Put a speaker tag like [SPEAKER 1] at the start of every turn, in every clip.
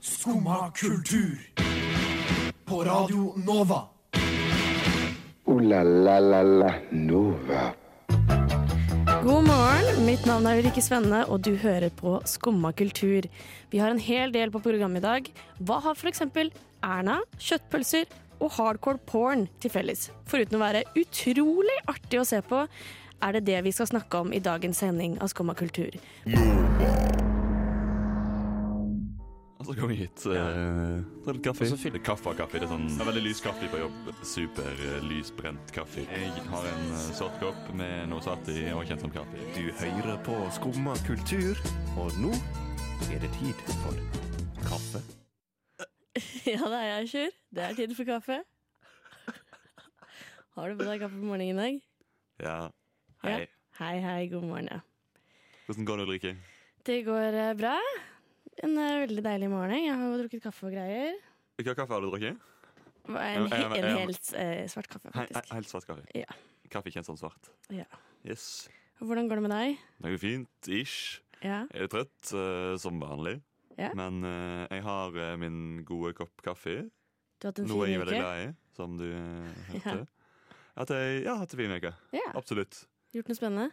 [SPEAKER 1] Skumma kultur. På Radio Nova.
[SPEAKER 2] Ooh la la la la Nova.
[SPEAKER 3] God morgen, mitt navn er Ulrikke Svenne, og du hører på Skumma kultur. Vi har en hel del på programmet i dag. Hva har f.eks. Erna, kjøttpølser og hardcore porn til felles? Foruten å være utrolig artig å se på, er det det vi skal snakke om i dagens sending av Skumma kultur.
[SPEAKER 4] Og så kom vi hit. eh, tar litt kaffe. Og så fyller kaffe av kaffe. Det er sånn det er veldig lys kaffe på jobb. Super eh, lysbrent kaffe. Jeg har en eh, sort kopp med noe satt i og kjent som kaffe. Du
[SPEAKER 5] Høyre på skumma kultur, og nå er det tid for kaffe.
[SPEAKER 3] Ja, det er jeg, Sjur. Det er tid for kaffe. Har du på deg kaffe på morgenen i dag?
[SPEAKER 4] Ja. Hei.
[SPEAKER 3] Ja. Hei, hei, god morgen. ja.
[SPEAKER 4] Hvordan går det, Ulrikke?
[SPEAKER 3] Det går eh, bra. En eh, veldig deilig morgen. Jeg har jo drukket kaffe og greier.
[SPEAKER 4] Hvilken kaffe har du drukket?
[SPEAKER 3] Det var En,
[SPEAKER 4] Ja, ja,
[SPEAKER 3] he
[SPEAKER 4] men-
[SPEAKER 3] en
[SPEAKER 4] ja,
[SPEAKER 3] helt eh, svart kaffe,
[SPEAKER 4] Hei, he-
[SPEAKER 3] faktisk.
[SPEAKER 4] helt svart kaffe.
[SPEAKER 3] Ja.
[SPEAKER 4] Kaffe kjent som svart.
[SPEAKER 3] Ja.
[SPEAKER 4] Yes.
[SPEAKER 3] Hvordan går det med deg?
[SPEAKER 4] Det går fint. Ish.
[SPEAKER 3] Ja.
[SPEAKER 4] Jeg er trøtt, eh, som vanlig.
[SPEAKER 3] Ja.
[SPEAKER 4] Men eh, jeg har eh, min gode kopp kaffe.
[SPEAKER 3] Du har hatt en
[SPEAKER 4] Noe
[SPEAKER 3] fin
[SPEAKER 4] jeg er veldig
[SPEAKER 3] uke?
[SPEAKER 4] glad i, som du eh, hørte.
[SPEAKER 3] Ja.
[SPEAKER 4] At jeg ja, hatt en fin uke.
[SPEAKER 3] Ja.
[SPEAKER 4] Absolutt.
[SPEAKER 3] Gjort noe spennende?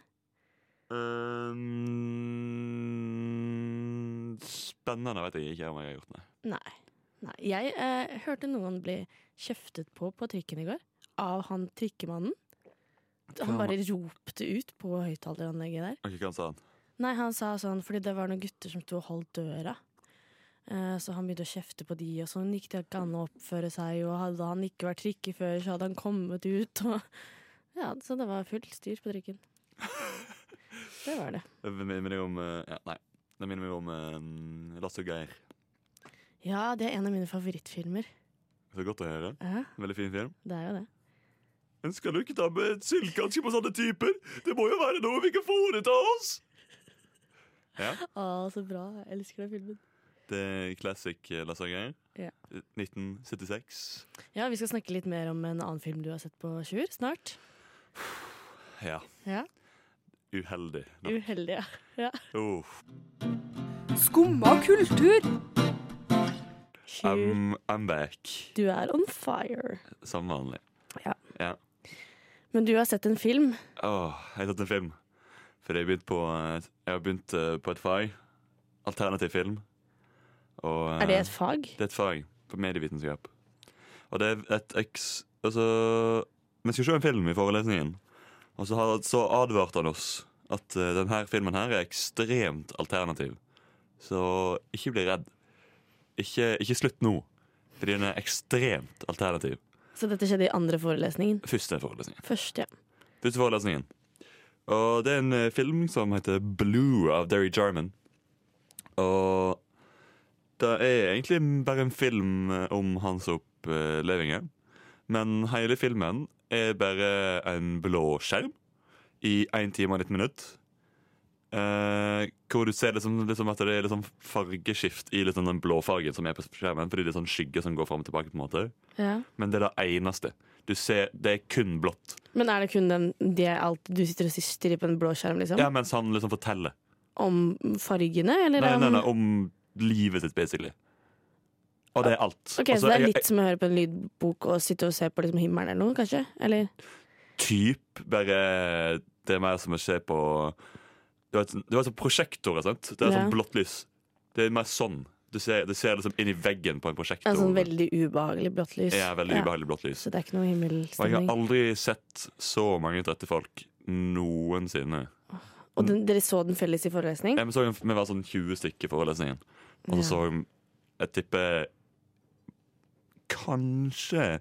[SPEAKER 4] Um, spennende vet jeg ikke om jeg har gjort det.
[SPEAKER 3] Nei. Nei. Jeg eh, hørte noen bli kjeftet på på trikken i går. Av han trikkemannen. Han bare ropte ut på høyttaleranlegget der.
[SPEAKER 4] Ok, hva sa han?
[SPEAKER 3] Nei, han sa sånn fordi det var noen gutter som sto og holdt døra. Eh, Så han begynte å kjefte på de, og sånn gikk det ikke an å oppføre seg. Og hadde han ikke vært trikke før, så hadde han kommet ut, og Ja, så det var fullt styr på trikken. Det var det.
[SPEAKER 4] Det minner meg om eh, ja, Nei. Det minner meg om eh, Lasse og Geir.
[SPEAKER 3] Ja, det er en av mine favorittfilmer.
[SPEAKER 4] Så godt å høre.
[SPEAKER 3] Ja,
[SPEAKER 4] Veldig fin film.
[SPEAKER 3] det er jo det.
[SPEAKER 4] En skal jo ikke ta med et syltkanskje på sånne typer! Det må jo være noe vi ikke foreta oss! Ja.
[SPEAKER 3] Å, så bra. Jeg elsker den filmen.
[SPEAKER 4] Det er classic eh, Lasse og Geir.
[SPEAKER 3] Ja.
[SPEAKER 4] 1976.
[SPEAKER 3] Ja, vi skal snakke litt mer om en annen film du har sett på Sjur snart.
[SPEAKER 4] Ja.
[SPEAKER 3] Ja.
[SPEAKER 4] Uheldig. nok.
[SPEAKER 3] Uheldig, ja.
[SPEAKER 4] Oh.
[SPEAKER 6] Skumma kultur.
[SPEAKER 3] Sjur,
[SPEAKER 4] I'm, I'm back.
[SPEAKER 3] du er on fire.
[SPEAKER 4] Som vanlig.
[SPEAKER 3] Men du har sett en film.
[SPEAKER 4] Åh, jeg har tatt en film. For jeg, begynte på, eh, jeg har begynt eh, på et fag. Alternativ film. Og, eh,
[SPEAKER 3] Er det et fag?
[SPEAKER 4] Det er et fag på medievitenskap. Og det er et eks... Altså, vi skulle se en film i forelesningen, og så, har, så advarte han oss at eh, denne filmen her er ekstremt alternativ. Så ikke bli redd. Ikke, ikke slutt nå, fordi den er ekstremt alternativ.
[SPEAKER 3] Så dette skjedde i andre forelesningen.
[SPEAKER 4] Første forelesning.
[SPEAKER 3] Første, ja.
[SPEAKER 4] Første forelesningen. Og det er en eh, film som heter Blue av Derry Jarman. Og det er egentlig bare en film eh, om hans opplevelser. Men hele filmen er bare en blå skjerm i 1 time og 19 minutter. Eh, hvor du ser liksom, liksom at det er liksom fargeskift i liksom den blå fargen som er på skjermen. Fordi det er sånn skygge som går fram og tilbake. på en måte
[SPEAKER 3] ja.
[SPEAKER 4] Men det er det eneste. Du ser, Det er kun blått.
[SPEAKER 3] Men er det kun den, det er alt du sitter og sister i på en blå skjerm, liksom?
[SPEAKER 4] Ja, mens han liksom forteller.
[SPEAKER 3] Om fargene, eller
[SPEAKER 4] Nei,
[SPEAKER 3] om
[SPEAKER 4] nei, nei, om livet sitt, basically. Og det er alt.
[SPEAKER 3] Ok,
[SPEAKER 4] Altså,
[SPEAKER 3] Så det er
[SPEAKER 4] jeg-
[SPEAKER 3] litt som å høre på en lydbok og sitte og se på liksom himmelen eller noe, kanskje? Eller?
[SPEAKER 4] jeg- Typ, bare Det er mer som å se på Du vet, du vet sånn prosjektorer, sant? Det er
[SPEAKER 3] Ja.
[SPEAKER 4] sånn blått lys. Det er mer sånn. Du ser, du ser liksom inn i veggen på en prosjektor.
[SPEAKER 3] En sånn veldig ubehagelig blått lys.
[SPEAKER 4] ja, veldig ubehagelig blått lys.
[SPEAKER 3] Så det er ikke noe
[SPEAKER 4] Og jeg har
[SPEAKER 3] himmelstemning. Og,
[SPEAKER 4] aldri sett så mange trette folk noensinne.
[SPEAKER 3] den, dere så den felles i forelesning?
[SPEAKER 4] Jeg så Vi var sånn 20 stykker i forelesningen. Og så så jeg Jeg tipper kanskje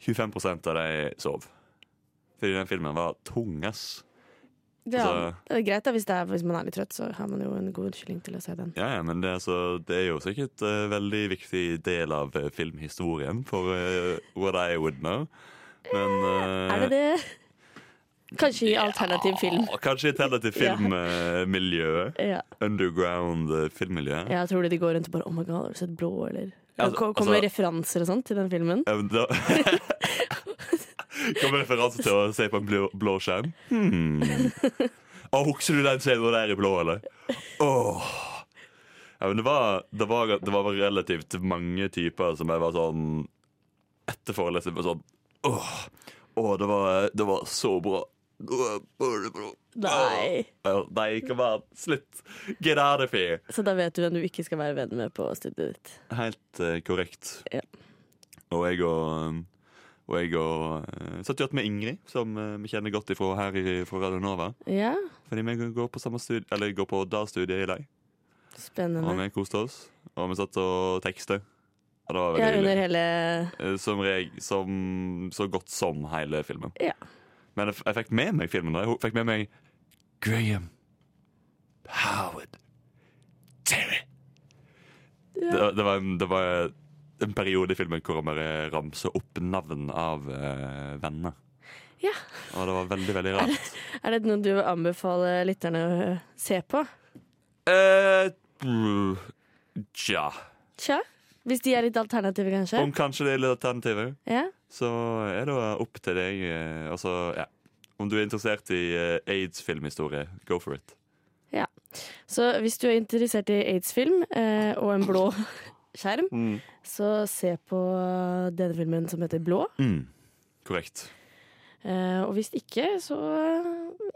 [SPEAKER 4] 25 av de sov. Fordi den filmen var tung, ass.
[SPEAKER 3] det, er,
[SPEAKER 4] altså-
[SPEAKER 3] det er greit da, hvis, det er, hvis man er litt trøtt, så har man jo en god unnskyldning til å se den.
[SPEAKER 4] Ja, ja, men det, er altså, det er jo sikkert en veldig viktig del av eh, filmhistorien for eh, what I would know. Men eh,
[SPEAKER 3] Er det det? Kanskje i alternativ film.
[SPEAKER 4] ja, Kanskje i teller til filmmiljøet.
[SPEAKER 3] Ja.
[SPEAKER 4] Underground eh, filmmiljøet.
[SPEAKER 3] Jeg tror det de går rundt og bare Oh my god, har du sett blå, eller?
[SPEAKER 4] Ja,
[SPEAKER 3] Og ko-
[SPEAKER 4] altså-
[SPEAKER 3] kommer referanser og sånt til den filmen.
[SPEAKER 4] Ja, men da Kommer referanse til å se på en blå, blå skjerm? Hmm. Å, husker du den scenen der i blå, eller? Åh Ja, men det var, det, var, det var relativt mange typer som jeg var sånn Etter forelesning var sånn Åh, åh det, var, det var så bra. Det var bare bra.
[SPEAKER 3] Nei.
[SPEAKER 4] Ja, Nei, kom an. Slutt. Get out of here.
[SPEAKER 3] Så da vet du hvem du ikke skal være venn med på studiet ditt.
[SPEAKER 4] Helt eh, korrekt.
[SPEAKER 3] Ja.
[SPEAKER 4] Og jeg og og jeg og, eh, satt jo igjen med Ingrid, som eh, vi kjenner godt ifra her i, fra Radio Nova.
[SPEAKER 3] Ja,
[SPEAKER 4] Fordi vi går på samme studie, eller går på det studiet i lag. Og
[SPEAKER 3] spennende.
[SPEAKER 4] vi koste oss. Og vi satt og tekstet. Og det var
[SPEAKER 3] Ja,
[SPEAKER 4] veldig
[SPEAKER 3] under
[SPEAKER 4] hyggelig.
[SPEAKER 3] hele
[SPEAKER 4] Eh, Som, reg, som så godt som hele filmen.
[SPEAKER 3] Ja.
[SPEAKER 4] Men jeg, f- jeg fikk med meg filmen. da. Jeg fikk med meg Graham Howard Terry. Det, det var, en, det var en periode i filmen hvor han bare ramsa opp navn av eh, venner.
[SPEAKER 3] Ja.
[SPEAKER 4] Og det var veldig, veldig rart.
[SPEAKER 3] Er det noe du vil anbefale lytterne å se på?
[SPEAKER 4] Eh, mm, Tja.
[SPEAKER 3] Tja? Hvis de er litt alternative, kanskje?
[SPEAKER 4] Om kanskje det er litt alternativer.
[SPEAKER 3] Ja?
[SPEAKER 4] så er det opp til deg. eh, Altså, ja. Om du er interessert i eh, aids-filmhistorie, go for it.
[SPEAKER 3] Så hvis du er interessert i aids-film eh, og en blå skjerm,
[SPEAKER 4] Mm.
[SPEAKER 3] så se på denne filmen som heter Blå.
[SPEAKER 4] Mm. Korrekt.
[SPEAKER 3] Eh, og hvis ikke, så eh,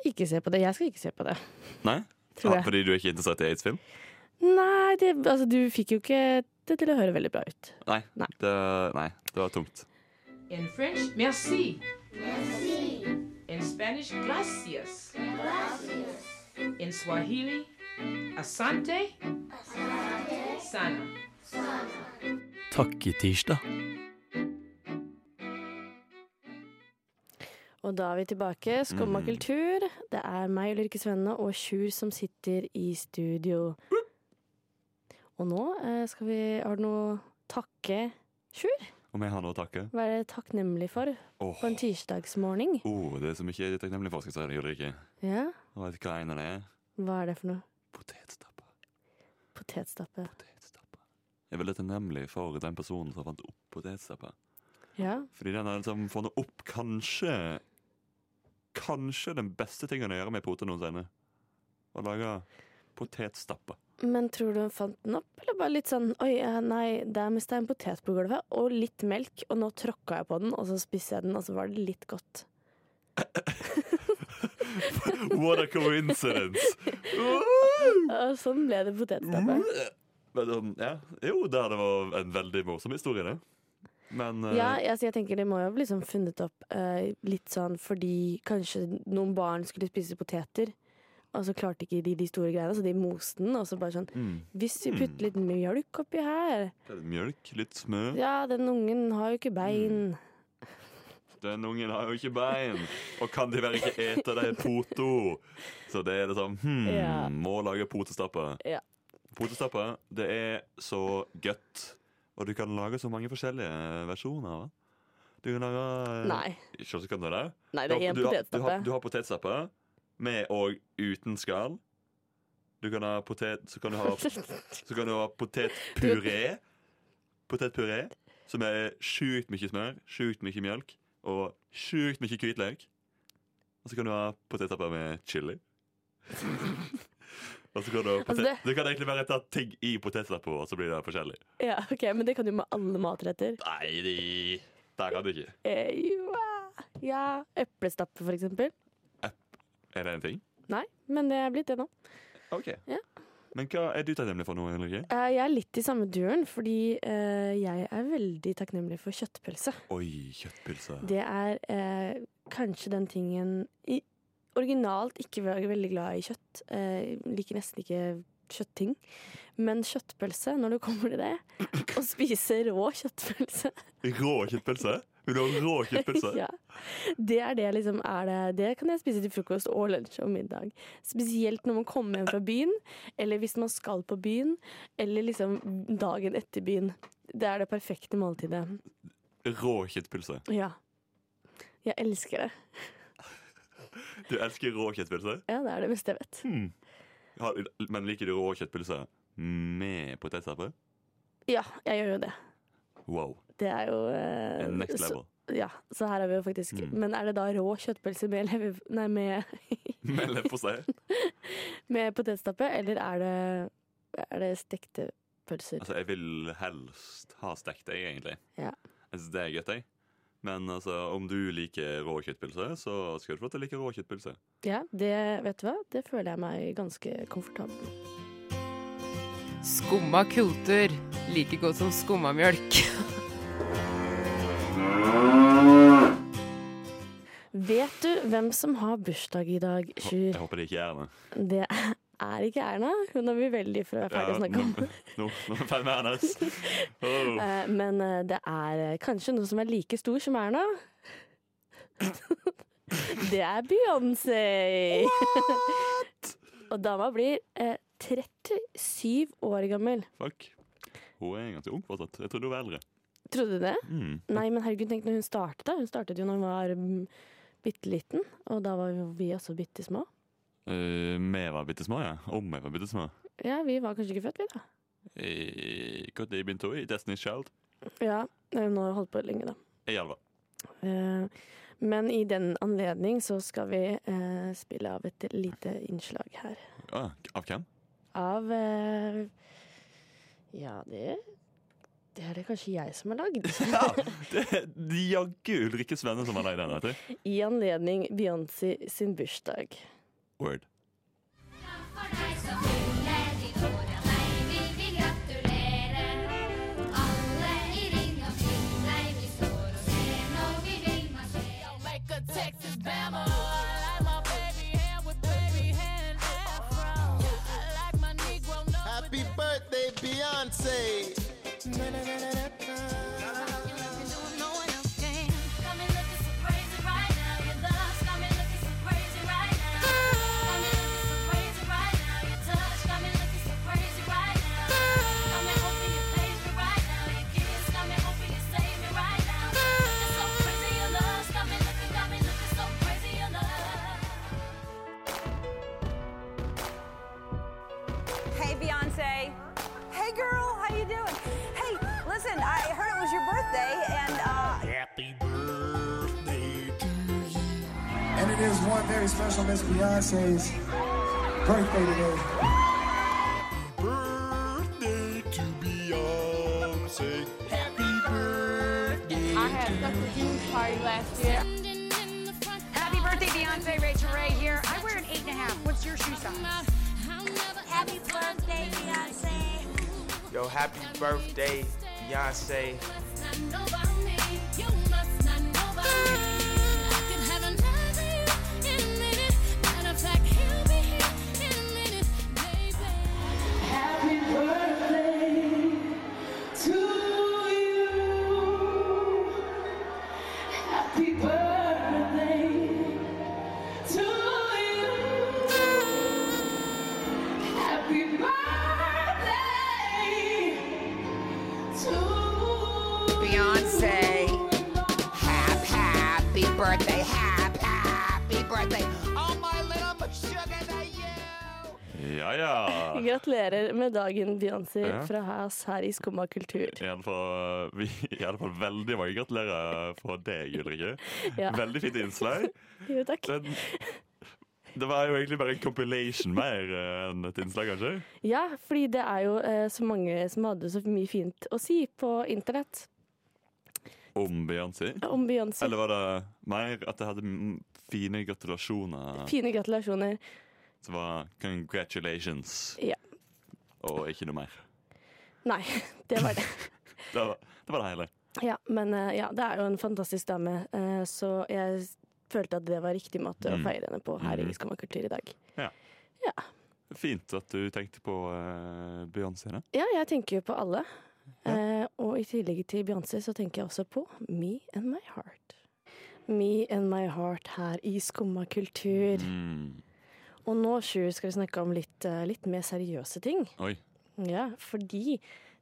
[SPEAKER 3] ikke se på det. Jeg skal ikke se på det.
[SPEAKER 4] Nei?
[SPEAKER 3] Tror
[SPEAKER 4] Ja,
[SPEAKER 3] jeg.
[SPEAKER 4] Ah, fordi du er ikke interessert i aids-film?
[SPEAKER 3] Nei, det, altså, du fikk jo ikke det til å høre veldig bra ut.
[SPEAKER 4] Nei.
[SPEAKER 3] Nei.
[SPEAKER 4] Det, nei. Det var tungt.
[SPEAKER 7] In French, merci. Merci. In Spanish, gracias. Gracias. In Swahili, asante. Asante. Sana.
[SPEAKER 8] Takketirsdag.
[SPEAKER 3] Og da er vi tilbake. Skumma kultur. Det er meg, Ulrikke Svenne, og Sjur som sitter i studio. Og nå eh, skal vi Har du noe takke, Sjur?
[SPEAKER 4] Om jeg har noe å takke?
[SPEAKER 3] Hva er det takknemlig for
[SPEAKER 4] Åh,
[SPEAKER 3] på en tirsdagsmorgen?
[SPEAKER 4] Åh, det er så mye jeg er takknemlig for. Skal jeg si det, Ulrikke.
[SPEAKER 3] Ja?
[SPEAKER 4] Og vet du hva en av det er?
[SPEAKER 3] Hva er det for noe?
[SPEAKER 4] Potetstappa.
[SPEAKER 3] Potetstappe.
[SPEAKER 4] Potetstappa. Jeg er veldig takknemlig for den personen som fant opp potetstappa.
[SPEAKER 3] Ja.
[SPEAKER 4] Fordi den har liksom funnet opp kanskje Kanskje den beste tingen å gjøre med poter noensinne. Å lage potetstappe.
[SPEAKER 3] Men tror du hun fant den opp, eller bare litt sånn Oi, eh, nei, der mista jeg en potet på gulvet, og litt melk, og nå tråkka jeg på den, og så spiste jeg den, og så var det litt godt.
[SPEAKER 4] What a coincidence!
[SPEAKER 3] Og sånn ble det potetstappe.
[SPEAKER 4] Mm. Men, um, ja. Jo, det hadde vært en veldig morsom historie, det. Men eh,
[SPEAKER 3] Ja, altså jeg tenker det må jo ha liksom funnet opp eh, litt sånn fordi kanskje noen barn skulle spise poteter, og så klarte ikke de de store greiene, så de moste den, og så bare sånn
[SPEAKER 4] mm,
[SPEAKER 3] Hvis vi putter litt mjølk oppi her
[SPEAKER 4] det er mjølk, litt smør
[SPEAKER 3] Ja, den ungen har jo ikke
[SPEAKER 4] Mm.
[SPEAKER 3] bein.
[SPEAKER 4] Den ungen har jo ikke bein! Og kan de vel ikke ete de poto? Så det er liksom hmm,
[SPEAKER 3] Ja.
[SPEAKER 4] Må lage potestappe.
[SPEAKER 3] Ja.
[SPEAKER 4] Potestappe, det er så godt. Og du kan lage så mange forskjellige versjoner. Va? Du kan lage eh,
[SPEAKER 3] Nei.
[SPEAKER 4] Selvsagt kan du det.
[SPEAKER 3] Nei,
[SPEAKER 4] Du
[SPEAKER 3] det er
[SPEAKER 4] har-
[SPEAKER 3] én
[SPEAKER 4] du har- Du har,
[SPEAKER 3] potetstappe.
[SPEAKER 4] du har potetstappe med og uten skall. Du kan ha potet Så kan du ha, så kan du ha potetpuré. Potetpuré som er sjukt mye smør, sjukt mye mjølk og sjukt mye hvitløk. Og så kan du ha potetstappe med chili. og så kan du ha potet...
[SPEAKER 3] Altså det-
[SPEAKER 4] Du kan egentlig bare ta ting i potetstappa, og så blir det forskjellig.
[SPEAKER 3] Ja, ok, Men det kan du med alle matretter.
[SPEAKER 4] Nei, de- der kan du ikke.
[SPEAKER 3] Eh, jo, ah, ja, Eplestappe, for eksempel.
[SPEAKER 4] Er det en ting?
[SPEAKER 3] Nei, men det er blitt det nå.
[SPEAKER 4] OK.
[SPEAKER 3] Ja.
[SPEAKER 4] Men hva er du takknemlig for nå, Henrikke?
[SPEAKER 3] Eh, jeg er litt i samme duren, fordi eh, jeg er veldig takknemlig for kjøttpølse.
[SPEAKER 4] Oi, kjøttpølse.
[SPEAKER 3] Det er eh, kanskje den tingen i, Originalt ikke var jeg veldig glad i kjøtt. Eh, liker nesten ikke kjøttting. Men kjøttpølse, når du kommer til det, og spiser rå kjøttpølse
[SPEAKER 4] Rå kjøttpølse? Vil du ha rå kjøttpølse?
[SPEAKER 3] ja, Det er det liksom er det, det kan jeg spise til frokost og lunsj og middag. Spesielt når man kommer hjem fra byen, eller hvis man skal på byen, eller liksom dagen etter byen. Det er det perfekte måltidet.
[SPEAKER 4] Rå kjøttpølse.
[SPEAKER 3] Ja. Jeg elsker det.
[SPEAKER 4] Du elsker rå kjøttpølse?
[SPEAKER 3] Ja, det er det beste jeg vet.
[SPEAKER 4] Har- Men liker du rå kjøttpølse med potetstappe?
[SPEAKER 3] Ja, jeg gjør jo det.
[SPEAKER 4] Wow.
[SPEAKER 3] Det er jo eh,
[SPEAKER 4] Next
[SPEAKER 3] så,
[SPEAKER 4] level.
[SPEAKER 3] ja, så her er vi jo faktisk
[SPEAKER 4] Mm.
[SPEAKER 3] Men er det da rå kjøttpølse med, lever, nei, med,
[SPEAKER 4] Med leverpostei?
[SPEAKER 3] med potetstappe, eller er det Er det stekte pølser?
[SPEAKER 4] Altså, jeg vil helst ha stekt egg, egentlig.
[SPEAKER 3] Ja.
[SPEAKER 4] Jeg synes det er godt, jeg. Men altså, om du liker rå kjøttpølse, så skal du få lov til å like rå kjøttpølse.
[SPEAKER 3] Ja, det vet du hva? Det føler jeg meg ganske komfortabel med.
[SPEAKER 6] Skumma kultur. Like godt som skummamjølk.
[SPEAKER 3] Vet du hvem som har bursdag i dag, Sjur?
[SPEAKER 4] Jeg håper det ikke er det.
[SPEAKER 3] Det er ikke Erna. Hun er vi veldig fra ferdig å
[SPEAKER 4] Ja,
[SPEAKER 3] snakke om.
[SPEAKER 4] nå- Nå nå er jeg ferdig med Oh, hennes. Åh.
[SPEAKER 3] Eh, Men eh, det er eh, kanskje noe som er like stor som Erna. Det er Beyoncé! Og dama blir eh, 37 år gammel.
[SPEAKER 4] Fuck. Hun er ganske ung fortsatt. Jeg trodde hun var eldre.
[SPEAKER 3] Trodde du det?
[SPEAKER 4] Mm.
[SPEAKER 3] Nei, men herregud, tenk når hun startet. da. Hun startet jo når hun var mm, bitte liten, og da var jo vi også bitte små.
[SPEAKER 4] Eh, vi var bitte små, ja. Om vi var bitte små.
[SPEAKER 3] Ja, vi var kanskje ikke født, vi, da.
[SPEAKER 4] Eh, Når begynte hun i Destiny's Child?
[SPEAKER 3] Ja, eh, nå har jeg holdt på lenge, da.
[SPEAKER 4] I Alva.
[SPEAKER 3] Eh, Men i den anledning så skal vi eh, spille av et lite innslag her.
[SPEAKER 4] Ah, av hvem?
[SPEAKER 3] Av eh, Ja, det Det er det kanskje jeg som har lagd.
[SPEAKER 4] Ja, det er jaggu Ulrikke Svenne som var lei den, vet du.
[SPEAKER 3] I anledning Beyoncé sin bursdag.
[SPEAKER 4] Word.
[SPEAKER 8] For deg som fyller ditt år, ja, nei, vi vil gratulere. Alle i ring omkring deg, vi står og ser når vi vil marsjere. Make a Texas Bama.
[SPEAKER 9] Happy birthday, Beyonce!
[SPEAKER 10] Hey, Beyonce. Hey, girl. How you doing? Hey, listen. I heard it was your birthday, and uh,
[SPEAKER 1] And it is one very special Miss Beyonce's birthday today.
[SPEAKER 6] I had such a huge party last year.
[SPEAKER 10] happy birthday, Beyonce. Rachel Ray here. I wear an eight and a half. What's your shoe size? Happy birthday, Beyonce.
[SPEAKER 9] Yo, happy birthday, Beyonce.
[SPEAKER 10] Beyonce. Hap, happy birthday. Hap, happy birthday. Oh, my little sugar that you.
[SPEAKER 4] Ja ja.
[SPEAKER 3] Gratulerer med dagen, Beyoncé,
[SPEAKER 4] Ja.
[SPEAKER 3] fra oss her i Skumma kultur.
[SPEAKER 4] I alle fall, vi, i alle fall veldig mange gratulerer fra deg, Ulrikke.
[SPEAKER 3] Ja.
[SPEAKER 4] Veldig fint innslag.
[SPEAKER 3] Jo, takk.
[SPEAKER 4] Den, det var jo egentlig bare en compilation mer eh, enn et innslag, kanskje?
[SPEAKER 3] Ja, fordi det er jo eh, så mange som hadde så mye fint å si på internett
[SPEAKER 4] Om Beyoncé?
[SPEAKER 3] om Beyoncé.
[SPEAKER 4] Eller var det mer at jeg hadde mm, fine gratulasjoner
[SPEAKER 3] Fine gratulasjoner.
[SPEAKER 4] som var congratulations,
[SPEAKER 3] Ja.
[SPEAKER 4] og ikke noe mer?
[SPEAKER 3] Nei, det var det.
[SPEAKER 4] Det var det, var det hele.
[SPEAKER 3] Ja, men eh, ja, det er jo en fantastisk dame, eh, så jeg s- følte at det var riktig måte å
[SPEAKER 4] Mm.
[SPEAKER 3] feire henne på her
[SPEAKER 4] Mhm.
[SPEAKER 3] i Skumma kultur i dag.
[SPEAKER 4] Fint at du tenkte på eh, Beyoncé. da.
[SPEAKER 3] Ja, jeg tenker jo på alle. Eh, og i tillegg til Beyoncé så tenker jeg også på Me and My Heart. Me and My Heart her i Skumma kultur.
[SPEAKER 4] Mm.
[SPEAKER 3] Og nå, Sjur, skal vi snakke om litt, eh, litt mer seriøse ting.
[SPEAKER 4] Oi.
[SPEAKER 3] Ja, fordi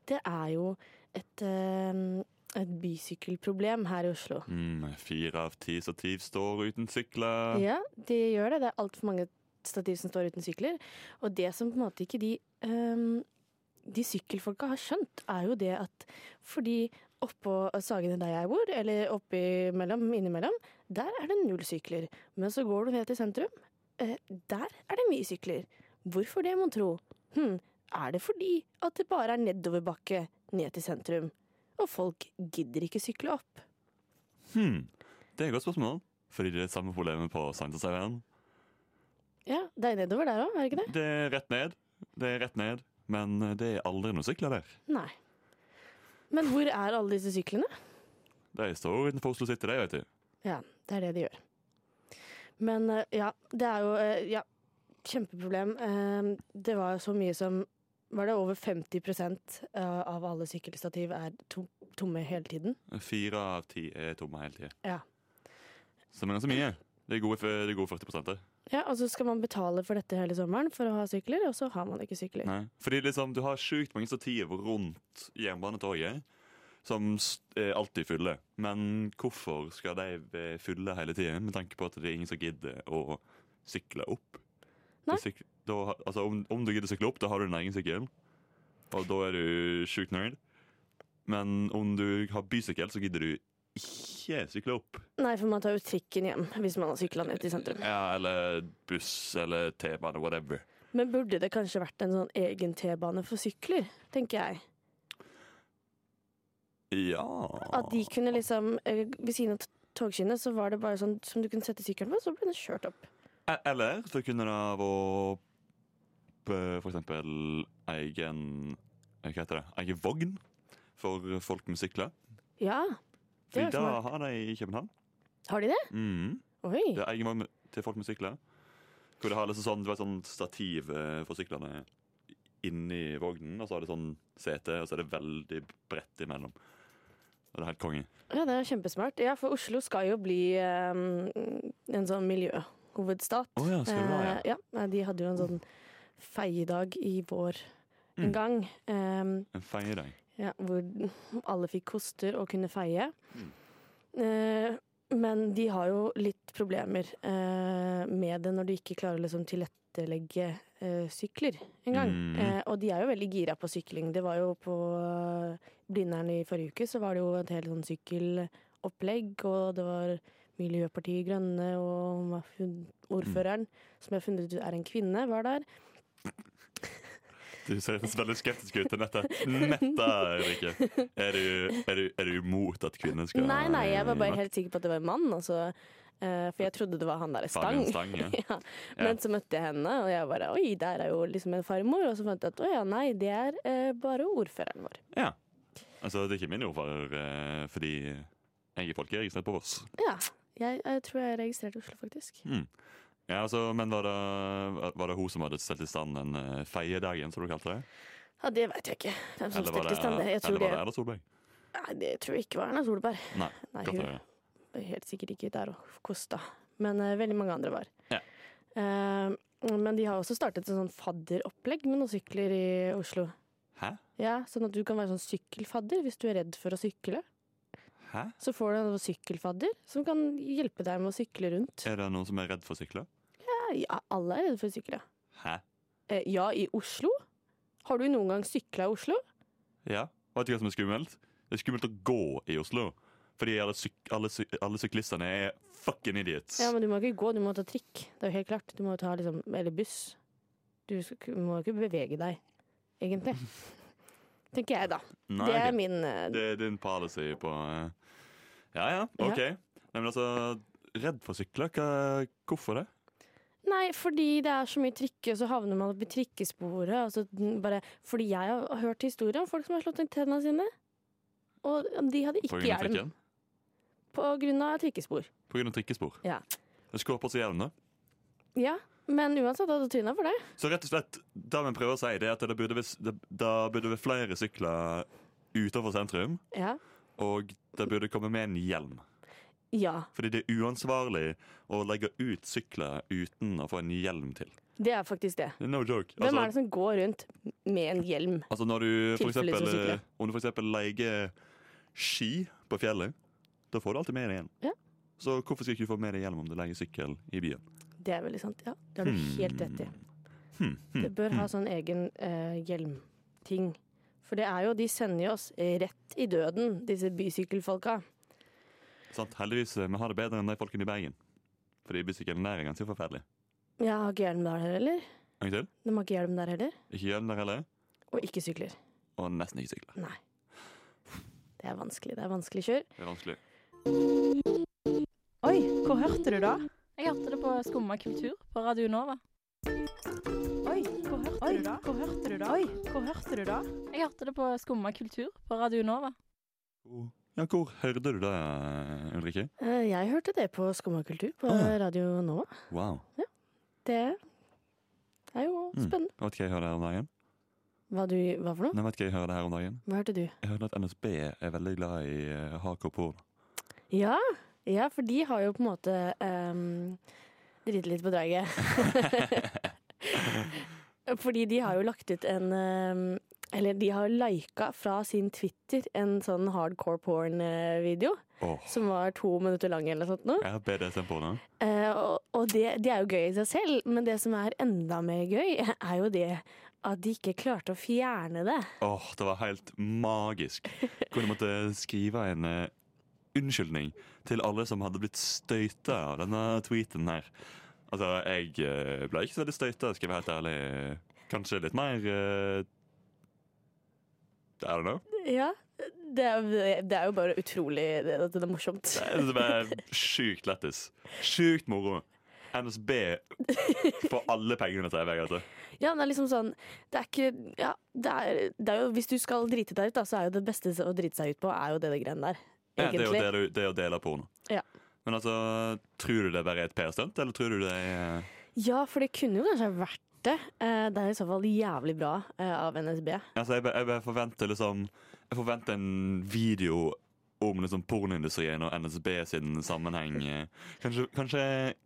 [SPEAKER 3] det er jo et, eh, et bysykkelproblem her i Oslo.
[SPEAKER 4] Mm, fire av ti stativ står uten sykler.
[SPEAKER 3] Ja, de gjør det. Det er altfor mange stativ som står uten sykler. Og det som på en måte ikke de, ehm, de sykkelfolka har skjønt, er jo det at fordi oppå Sagene der jeg bor, eller oppimellom, innimellom, der er det null sykler. Men så går du ned til sentrum, eh, der er det mye sykler. Hvorfor det, mon tro? Hm, er det fordi at det bare er nedoverbakke ned til sentrum, og folk gidder ikke sykle opp.
[SPEAKER 4] Hmm. Det er et godt spørsmål. Fordi det er samme problemet på Sankthanshaugen.
[SPEAKER 3] Ja, Det er nedover der òg, er det ikke det?
[SPEAKER 4] Det er rett ned. Det er rett ned. Men det er aldri noen sykler der.
[SPEAKER 3] Nei. Men hvor er alle disse syklene?
[SPEAKER 4] De står utenfor Oslo City, de, vet du.
[SPEAKER 3] Ja, det er det de gjør. Men eh, ja, det er jo eh, ja, kjempeproblem. Eh, Det var så mye som Var det over 50 av alle sykkelstativ er tom, tomme hele tiden?
[SPEAKER 4] Fire av ti er tomme hele tida.
[SPEAKER 3] Ja.
[SPEAKER 4] Som er ganske mye. Det er gode, f- det er gode 40 der.
[SPEAKER 3] ja. Og så skal man betale for dette hele sommeren for å ha sykler, og så har man ikke sykler.
[SPEAKER 4] Nei. Fordi liksom, du har sjukt mange stativer rundt jernbanetorget som s- er alltid fulle. Men hvorfor skal de være fulle hele tiden, med tanke på at det er ingen som gidder å sykle opp?
[SPEAKER 3] Nei.
[SPEAKER 4] Da syk- da, ha- altså, om, om du gidder å sykle opp, da har du din egen sykkel, og da er du sjukt nerd. Men om du har bysykkel, så gidder du ikke sykle opp.
[SPEAKER 3] Nei, for man tar jo trikken hjem hvis man har sykla ned til sentrum.
[SPEAKER 4] Ja, eller buss eller T-bane, whatever.
[SPEAKER 3] Men burde det kanskje vært en sånn egen T-bane for sykler, tenker jeg.
[SPEAKER 4] Ja
[SPEAKER 3] At de kunne liksom eh, Ved siden av t- togskinnene så var det bare sånn som du kunne sette sykkelen på, så ble den kjørt opp.
[SPEAKER 4] E- Eller så kunne det vært eh, for eksempel egen eh, Hva heter det? Egen vogn for folk med sykler.
[SPEAKER 3] Ja. Det
[SPEAKER 4] Fordi
[SPEAKER 3] var
[SPEAKER 4] da
[SPEAKER 3] smart.
[SPEAKER 4] har de i København.
[SPEAKER 3] Har de det?
[SPEAKER 4] Mhm.
[SPEAKER 3] Oi.
[SPEAKER 4] Det er egen vogn med- til folk med sykler. Hvor det har liksom sånn, det var sånn stativ eh, for syklene inni vognen, og så har det sånn sete, og så er det veldig bredt imellom. Og det er helt konge.
[SPEAKER 3] Ja, det er kjempesmart. Ja, for Oslo skal jo bli eh, en sånn miljøhovedstat.
[SPEAKER 4] Å ja, skal det være,
[SPEAKER 3] Eh, ja, de hadde jo en sånn feiedag i vår
[SPEAKER 4] Mm.
[SPEAKER 3] en gang. eh,
[SPEAKER 4] En feiring.
[SPEAKER 3] ja, hvor alle fikk koster og kunne feie. Eh, men de har jo litt problemer eh, med det når de ikke klarer å liksom, tilrettelegge eh, sykler engang.
[SPEAKER 8] Mm.
[SPEAKER 3] Eh, og de er jo veldig gira på sykling. Det var jo på eh, Blindern i forrige uke, så var det jo et helt sånn sykkelopplegg, og det var Miljøpartiet Grønne og hun var hun- ordføreren, som jeg har funnet ut er en kvinne, var der.
[SPEAKER 4] Du ser veldig skeptisk ut til dette. Netta, Rikke. Er du, er, du, er du imot at kvinner skal
[SPEAKER 3] Nei, nei, jeg var bare helt sikker på at det var en mann. Altså, eh, for jeg trodde det var han der Stang.
[SPEAKER 4] Fabian Stang, ja.
[SPEAKER 3] Men så møtte jeg henne, og jeg bare Oi, der er jo liksom en farmor. Og så fant jeg at å ja, nei, det er eh, bare ordføreren vår.
[SPEAKER 4] Ja. Altså, det er ikke min ordfører eh, fordi jeg er folkeregistrert på Voss.
[SPEAKER 3] Ja. Jeg, jeg tror jeg registrerte Oslo, faktisk.
[SPEAKER 4] Mm. Ja, altså, men var det, var det hun som hadde stelt i stand den eh, feiedagen, som du kalte det?
[SPEAKER 3] Ja, det veit jeg ikke. Hvem som
[SPEAKER 4] var
[SPEAKER 3] stelte
[SPEAKER 4] det,
[SPEAKER 3] i stand det. Jeg tror
[SPEAKER 4] eller
[SPEAKER 3] det,
[SPEAKER 4] var det Erla Solberg?
[SPEAKER 3] nei, det tror jeg ikke var Erna Solberg.
[SPEAKER 4] Nei.
[SPEAKER 3] Nei,
[SPEAKER 4] godt å
[SPEAKER 3] hun-
[SPEAKER 4] høre.
[SPEAKER 3] Det var Helt sikkert ikke der og kosta. Men eh, veldig mange andre var.
[SPEAKER 4] Ja.
[SPEAKER 3] Eh, men de har også startet et sånn fadderopplegg med noen sykler i Oslo.
[SPEAKER 4] Hæ?
[SPEAKER 3] Ja, sånn at du kan være sånn sykkelfadder hvis du er redd for å sykle.
[SPEAKER 4] Hæ?
[SPEAKER 3] Så får du en sykkelfadder som kan hjelpe deg med å sykle rundt.
[SPEAKER 4] Er det noen som er redd for sykler?
[SPEAKER 3] Ja, ja alle er redde for å sykle.
[SPEAKER 4] Hæ?
[SPEAKER 3] Eh, ja, i Oslo? Har du noen gang sykla i Oslo?
[SPEAKER 4] Ja. Vet du hva som er skummelt? Det er skummelt å gå i Oslo. Fordi alle, syk alle, sy alle syklistene er fucking idiots.
[SPEAKER 3] Ja, men du må ikke gå, du må ta trikk. Det er jo helt klart. Du må ta liksom Eller buss. Du sk- må ikke bevege deg, egentlig. Tenker jeg, da.
[SPEAKER 4] Nei,
[SPEAKER 3] det er
[SPEAKER 4] ok.
[SPEAKER 3] min eh,
[SPEAKER 4] Det er din policy på eh, Ja ja, OK. Nei, men altså, redd for sykler? Hva, hvorfor det?
[SPEAKER 3] Nei, fordi det er så mye trikke, og så havner man oppi trikkesporet. Og så den bare, fordi jeg har hørt historier om folk som har slått inn tennene sine. Og de hadde
[SPEAKER 4] På
[SPEAKER 3] ikke
[SPEAKER 4] grunn av
[SPEAKER 3] hjelm.
[SPEAKER 4] trikken?
[SPEAKER 3] På grunn av trikkespor.
[SPEAKER 4] På grunn av trikkespor.
[SPEAKER 3] Ja.
[SPEAKER 4] Jeg skulle ha på seg hjelm, da.
[SPEAKER 3] ja. Men uansett hadde du tryna for det.
[SPEAKER 4] Så rett og slett, det vi prøver å si, det er at det burde være, s- det, det burde være flere sykler utenfor sentrum.
[SPEAKER 3] Ja.
[SPEAKER 4] Og det burde komme med en hjelm.
[SPEAKER 3] ja.
[SPEAKER 4] Fordi det er uansvarlig å legge ut sykler uten å få en hjelm til.
[SPEAKER 3] Det er faktisk det.
[SPEAKER 4] No joke.
[SPEAKER 3] Hvem er det som går rundt med en hjelm?
[SPEAKER 4] Altså når du for
[SPEAKER 3] Tilfellet som
[SPEAKER 4] eksempel,
[SPEAKER 3] sykler.
[SPEAKER 4] eh, Om du for eksempel leier ski på fjellet, da får du alltid med deg hjelm.
[SPEAKER 3] Ja.
[SPEAKER 4] Så hvorfor skal ikke du få med deg hjelm om du leier sykkel i byen?
[SPEAKER 3] Det er veldig sant. Ja, det har du
[SPEAKER 4] Hmm.
[SPEAKER 3] helt rett i.
[SPEAKER 4] Hmm, hmm,
[SPEAKER 3] Det bør ha
[SPEAKER 4] hmm.
[SPEAKER 3] sånn egen eh, hjelmting. For det er jo, de sender jo oss rett i døden, disse bysykkelfolka.
[SPEAKER 4] Sant, heldigvis eh, vi har det bedre enn de folkene i Bergen. Fordi bysykkelen der er ganske forferdelig.
[SPEAKER 3] Jeg har ikke hjelm der heller.
[SPEAKER 4] En gang til.
[SPEAKER 3] De har ikke hjelm der heller.
[SPEAKER 4] Ikke hjelm der heller.
[SPEAKER 3] Og ikke sykler.
[SPEAKER 4] Og nesten ikke sykle.
[SPEAKER 3] Nei. Det er vanskelig. Det er vanskelig kjør.
[SPEAKER 4] Det er vanskelig.
[SPEAKER 11] Oi, hvor hørte du da?
[SPEAKER 12] Jeg hørte det på Skumma kultur på Radio Nova.
[SPEAKER 11] Oi, hvor hørte du da? Hvor hørte du da? Oi, hvor hørte du da?
[SPEAKER 12] Jeg hørte det på Skumma kultur på Radio Nova.
[SPEAKER 4] Oh, Ja, hvor hørte du det, Ulrikke?
[SPEAKER 3] Eh, Jeg hørte det på Skumma kultur på Radio Nova.
[SPEAKER 4] Wow.
[SPEAKER 3] Det er jo
[SPEAKER 4] Mm.
[SPEAKER 3] spennende.
[SPEAKER 4] Vet ikke hva jeg hører her om dagen?
[SPEAKER 3] Hva, du, hva for noe?
[SPEAKER 4] Nei, vet ikke hva jeg hører her om dagen?
[SPEAKER 3] Hva hørte du?
[SPEAKER 4] Jeg hørte at NSB er veldig glad i eh, hardcore-porno.
[SPEAKER 3] Ja, ja, for de har jo på en måte um, driti litt på draget. Fordi de har jo lagt ut en ehm, Eller de har lika fra sin Twitter en sånn hardcore porn-video.
[SPEAKER 4] Åh.
[SPEAKER 3] Som var to minutter lang eller noe sånt. Nå.
[SPEAKER 4] Jeg har BDSM-porno.
[SPEAKER 3] Eh, og og det, det er jo gøy i seg selv, men det som er enda mer gøy, er jo det at de ikke klarte å fjerne det.
[SPEAKER 4] Åh, det var helt magisk. Hvor de måtte skrive en eh, unnskyldning til alle som hadde blitt støyta av denne tweeten her. Altså, jeg eh, ble ikke så veldig støyta, skal jeg være helt ærlig. Kanskje litt mer eh, I don't know.
[SPEAKER 3] Ja, det er, det er jo bare utrolig det, at det er morsomt.
[SPEAKER 4] Det er- det er sjukt lættis. Sjukt moro. NSB får alle pengene til evig, altså.
[SPEAKER 3] Ja, det er liksom sånn Det er ikke Ja, det er, det er jo Hvis du skal drite deg ut, da, så er jo det beste å drite seg ut på, er jo det, det greiene der.
[SPEAKER 4] Ja, det, er jo
[SPEAKER 3] Egentlig.
[SPEAKER 4] det, du, det er å dele porno.
[SPEAKER 3] Ja.
[SPEAKER 4] Men altså, tror du det bare er et PR-stunt, eller tror du det er eh,
[SPEAKER 3] ja, for det kunne jo kanskje vært det. Eh, Det er i så fall jævlig bra eh, av NSB.
[SPEAKER 4] Altså, jeg, bare- jeg bare forventer liksom Jeg forventer en video om liksom pornoindustrien og NSB sin sammenheng. eh. Kanskje, kanskje,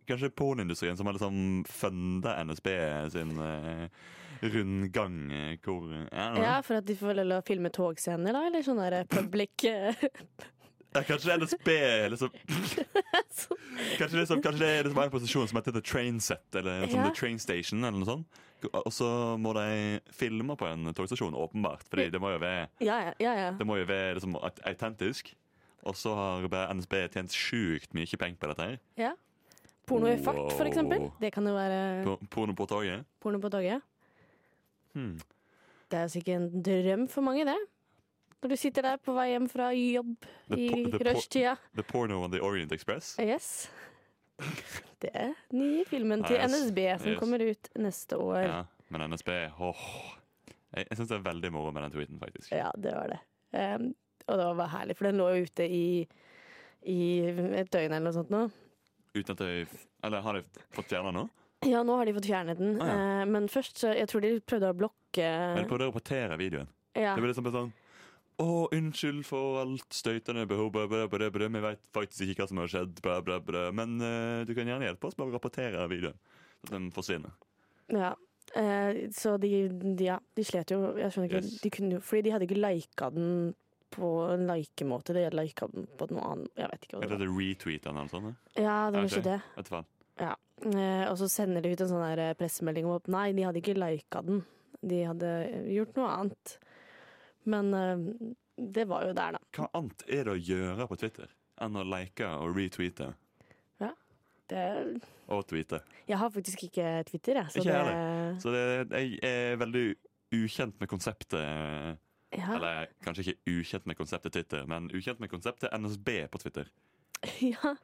[SPEAKER 4] kanskje pornoindustrien som har liksom funda NSB sin eh, rundgang, eh, hvor I don't know.
[SPEAKER 3] Ja, For at de får lov å filme togscener, da? Eller sånn der public eh,
[SPEAKER 4] Ja, Kanskje NSB er liksom Kanskje, liksom, kanskje det er liksom en posisjon som heter The Train Set eller som
[SPEAKER 3] Ja.
[SPEAKER 4] The Train Station. eller noe sånt. Og så må de filme på en togstasjon, åpenbart, Fordi det må jo være,
[SPEAKER 3] Ja, ja. ja, ja.
[SPEAKER 4] det må jo være liksom, aut- autentisk. Og så har bare NSB tjent sjukt mye penger på dette. her.
[SPEAKER 3] ja. Porno i fart, for
[SPEAKER 4] Wow.
[SPEAKER 3] eksempel. Det kan jo være
[SPEAKER 4] På- Porno på toget.
[SPEAKER 3] porno på toget.
[SPEAKER 4] Hmm.
[SPEAKER 3] Det er jo sikkert en drøm for mange, det. Når du sitter der på vei hjem fra jobb
[SPEAKER 4] The
[SPEAKER 3] i
[SPEAKER 4] por- the por-
[SPEAKER 3] rushtida.
[SPEAKER 4] The Porno on the Orient Express.
[SPEAKER 3] Yes. Det er den nye filmen til
[SPEAKER 4] Ja, yes.
[SPEAKER 3] NSB som
[SPEAKER 4] Yes.
[SPEAKER 3] kommer ut neste år. Ja,
[SPEAKER 4] Ja, men NSB åh. Jeg, jeg syns det er veldig moro med den tweeten, faktisk.
[SPEAKER 3] det var det. Ehm, og det var bare herlig, for den lå jo ute i, i et døgn eller noe sånt nå.
[SPEAKER 4] Uten at jeg Eller har jeg fått fjerna nå?
[SPEAKER 3] Ja, nå har de fått fjernet den,
[SPEAKER 4] Ah, ja.
[SPEAKER 3] eh, men først så Jeg tror de prøvde å blokke
[SPEAKER 4] Men jeg prøvde å rapportere videoen.
[SPEAKER 3] Ja.
[SPEAKER 4] Det ble liksom bare sånn Å, unnskyld for alt støytende behov, bla, bla, bla, bla. vi vet faktisk ikke hva som har skjedd, bla, bla, bla. men eh, du kan gjerne hjelpe oss med å rapportere videoen. Så at den forsvinner.
[SPEAKER 3] Ja. Eh, så de, de, ja, de slet jo. Jeg skjønner ikke.
[SPEAKER 4] Yes.
[SPEAKER 3] De kunne, jo- fordi de hadde ikke lika den på en likemåte. De hadde lika den på noe annet. Jeg vet ikke hva
[SPEAKER 4] Eller
[SPEAKER 3] det var.
[SPEAKER 4] det retweeter eller noe sånt? eh?
[SPEAKER 3] Ja, det var
[SPEAKER 4] Jeg vet
[SPEAKER 3] ikke det.
[SPEAKER 4] Vet du faen.
[SPEAKER 3] Ja. Eh, og så sender de ut en sånn her eh, pressemelding om at nei, de hadde ikke lika den. De hadde eh, gjort noe annet. Men eh, det var jo der, da.
[SPEAKER 4] Hva annet er det å gjøre på Twitter enn å like og retweete
[SPEAKER 3] Ja. Det,
[SPEAKER 4] og tweete?
[SPEAKER 3] jeg har faktisk ikke Twitter, jeg. Så
[SPEAKER 4] Ikke jeg
[SPEAKER 3] det,
[SPEAKER 4] heller. Så det, jeg er veldig ukjent med konseptet
[SPEAKER 3] Ja.
[SPEAKER 4] Eller kanskje ikke ukjent med konseptet Twitter, men ukjent med konseptet NSB på Twitter.
[SPEAKER 3] ja.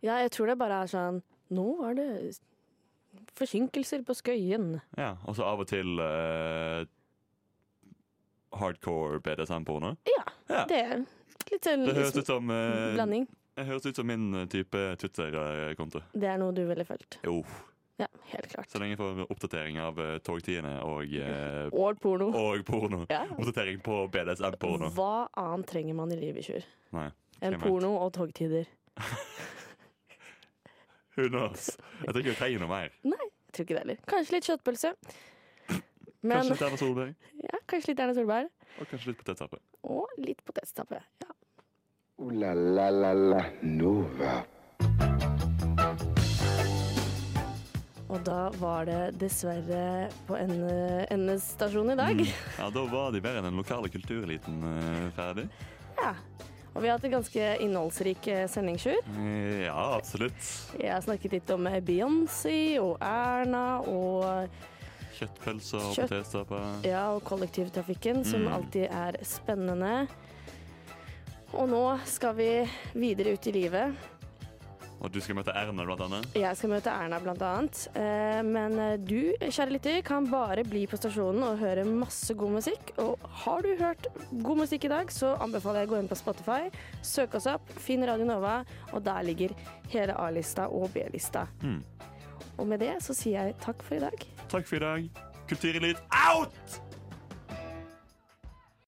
[SPEAKER 3] ja, jeg tror det bare er sånn Nå er det forsinkelser på Skøyen.
[SPEAKER 4] Ja, og så av og til eh, hardcore BDSM-porno.
[SPEAKER 3] Ja,
[SPEAKER 4] Ja.
[SPEAKER 3] det er litt sånn
[SPEAKER 4] Det høres ut som eh,
[SPEAKER 3] blanding.
[SPEAKER 4] Det høres ut som min eh, type Twitter-konto.
[SPEAKER 3] Det er noe du ville følt.
[SPEAKER 4] Jo.
[SPEAKER 3] Ja, helt klart.
[SPEAKER 4] Så lenge jeg får oppdatering av eh, togtidene og eh,
[SPEAKER 3] Og porno.
[SPEAKER 4] Og porno.
[SPEAKER 3] Ja.
[SPEAKER 4] Oppdatering på BDSM-porno.
[SPEAKER 3] Hva annet trenger man i livet, Sjur?
[SPEAKER 4] Nei.
[SPEAKER 3] Enn
[SPEAKER 4] hvem vet?
[SPEAKER 3] porno og togtider.
[SPEAKER 4] Who knows? Jeg tror ikke vi trenger noe mer.
[SPEAKER 3] Nei, jeg tror ikke det heller. Kanskje litt kjøttpølse. Men,
[SPEAKER 4] Kanskje litt Erna Solberg,
[SPEAKER 3] ja, kanskje litt Erna Solberg.
[SPEAKER 4] og kanskje litt potetstappe.
[SPEAKER 3] Og litt potetstappe. Ja.
[SPEAKER 2] Ooh la la la la Nova.
[SPEAKER 3] Og da var det dessverre på en eh, NS stasjon i dag.
[SPEAKER 4] Ja, Da var de bedre enn den lokale kultureliten eh, ferdig.
[SPEAKER 3] Ja. Og vi har hatt en ganske innholdsrik eh, sending, Sjur.
[SPEAKER 4] Eh, Ja, absolutt.
[SPEAKER 3] Jeg har snakket litt om Beyoncé og Erna og
[SPEAKER 4] Kjøttpølser og
[SPEAKER 3] Kjøtt-
[SPEAKER 4] potetstapper.
[SPEAKER 3] Ja, og kollektivtrafikken, som
[SPEAKER 4] Mm.
[SPEAKER 3] alltid er spennende. Og nå skal vi videre ut i livet.
[SPEAKER 4] Og du skal møte Erna, blant annet.
[SPEAKER 3] Jeg skal møte Erna blant annet. Eh, Men eh, du, kjære lytter, kan bare bli på stasjonen og høre masse god musikk. Og har du hørt god musikk i dag, så anbefaler jeg å gå inn på Spotify, søk oss opp, finn Radio Nova, og der ligger hele A-lista og B-lista.
[SPEAKER 4] Mm.
[SPEAKER 3] Og med det så sier jeg takk for i dag.
[SPEAKER 4] Takk for i dag. Kulturelit out!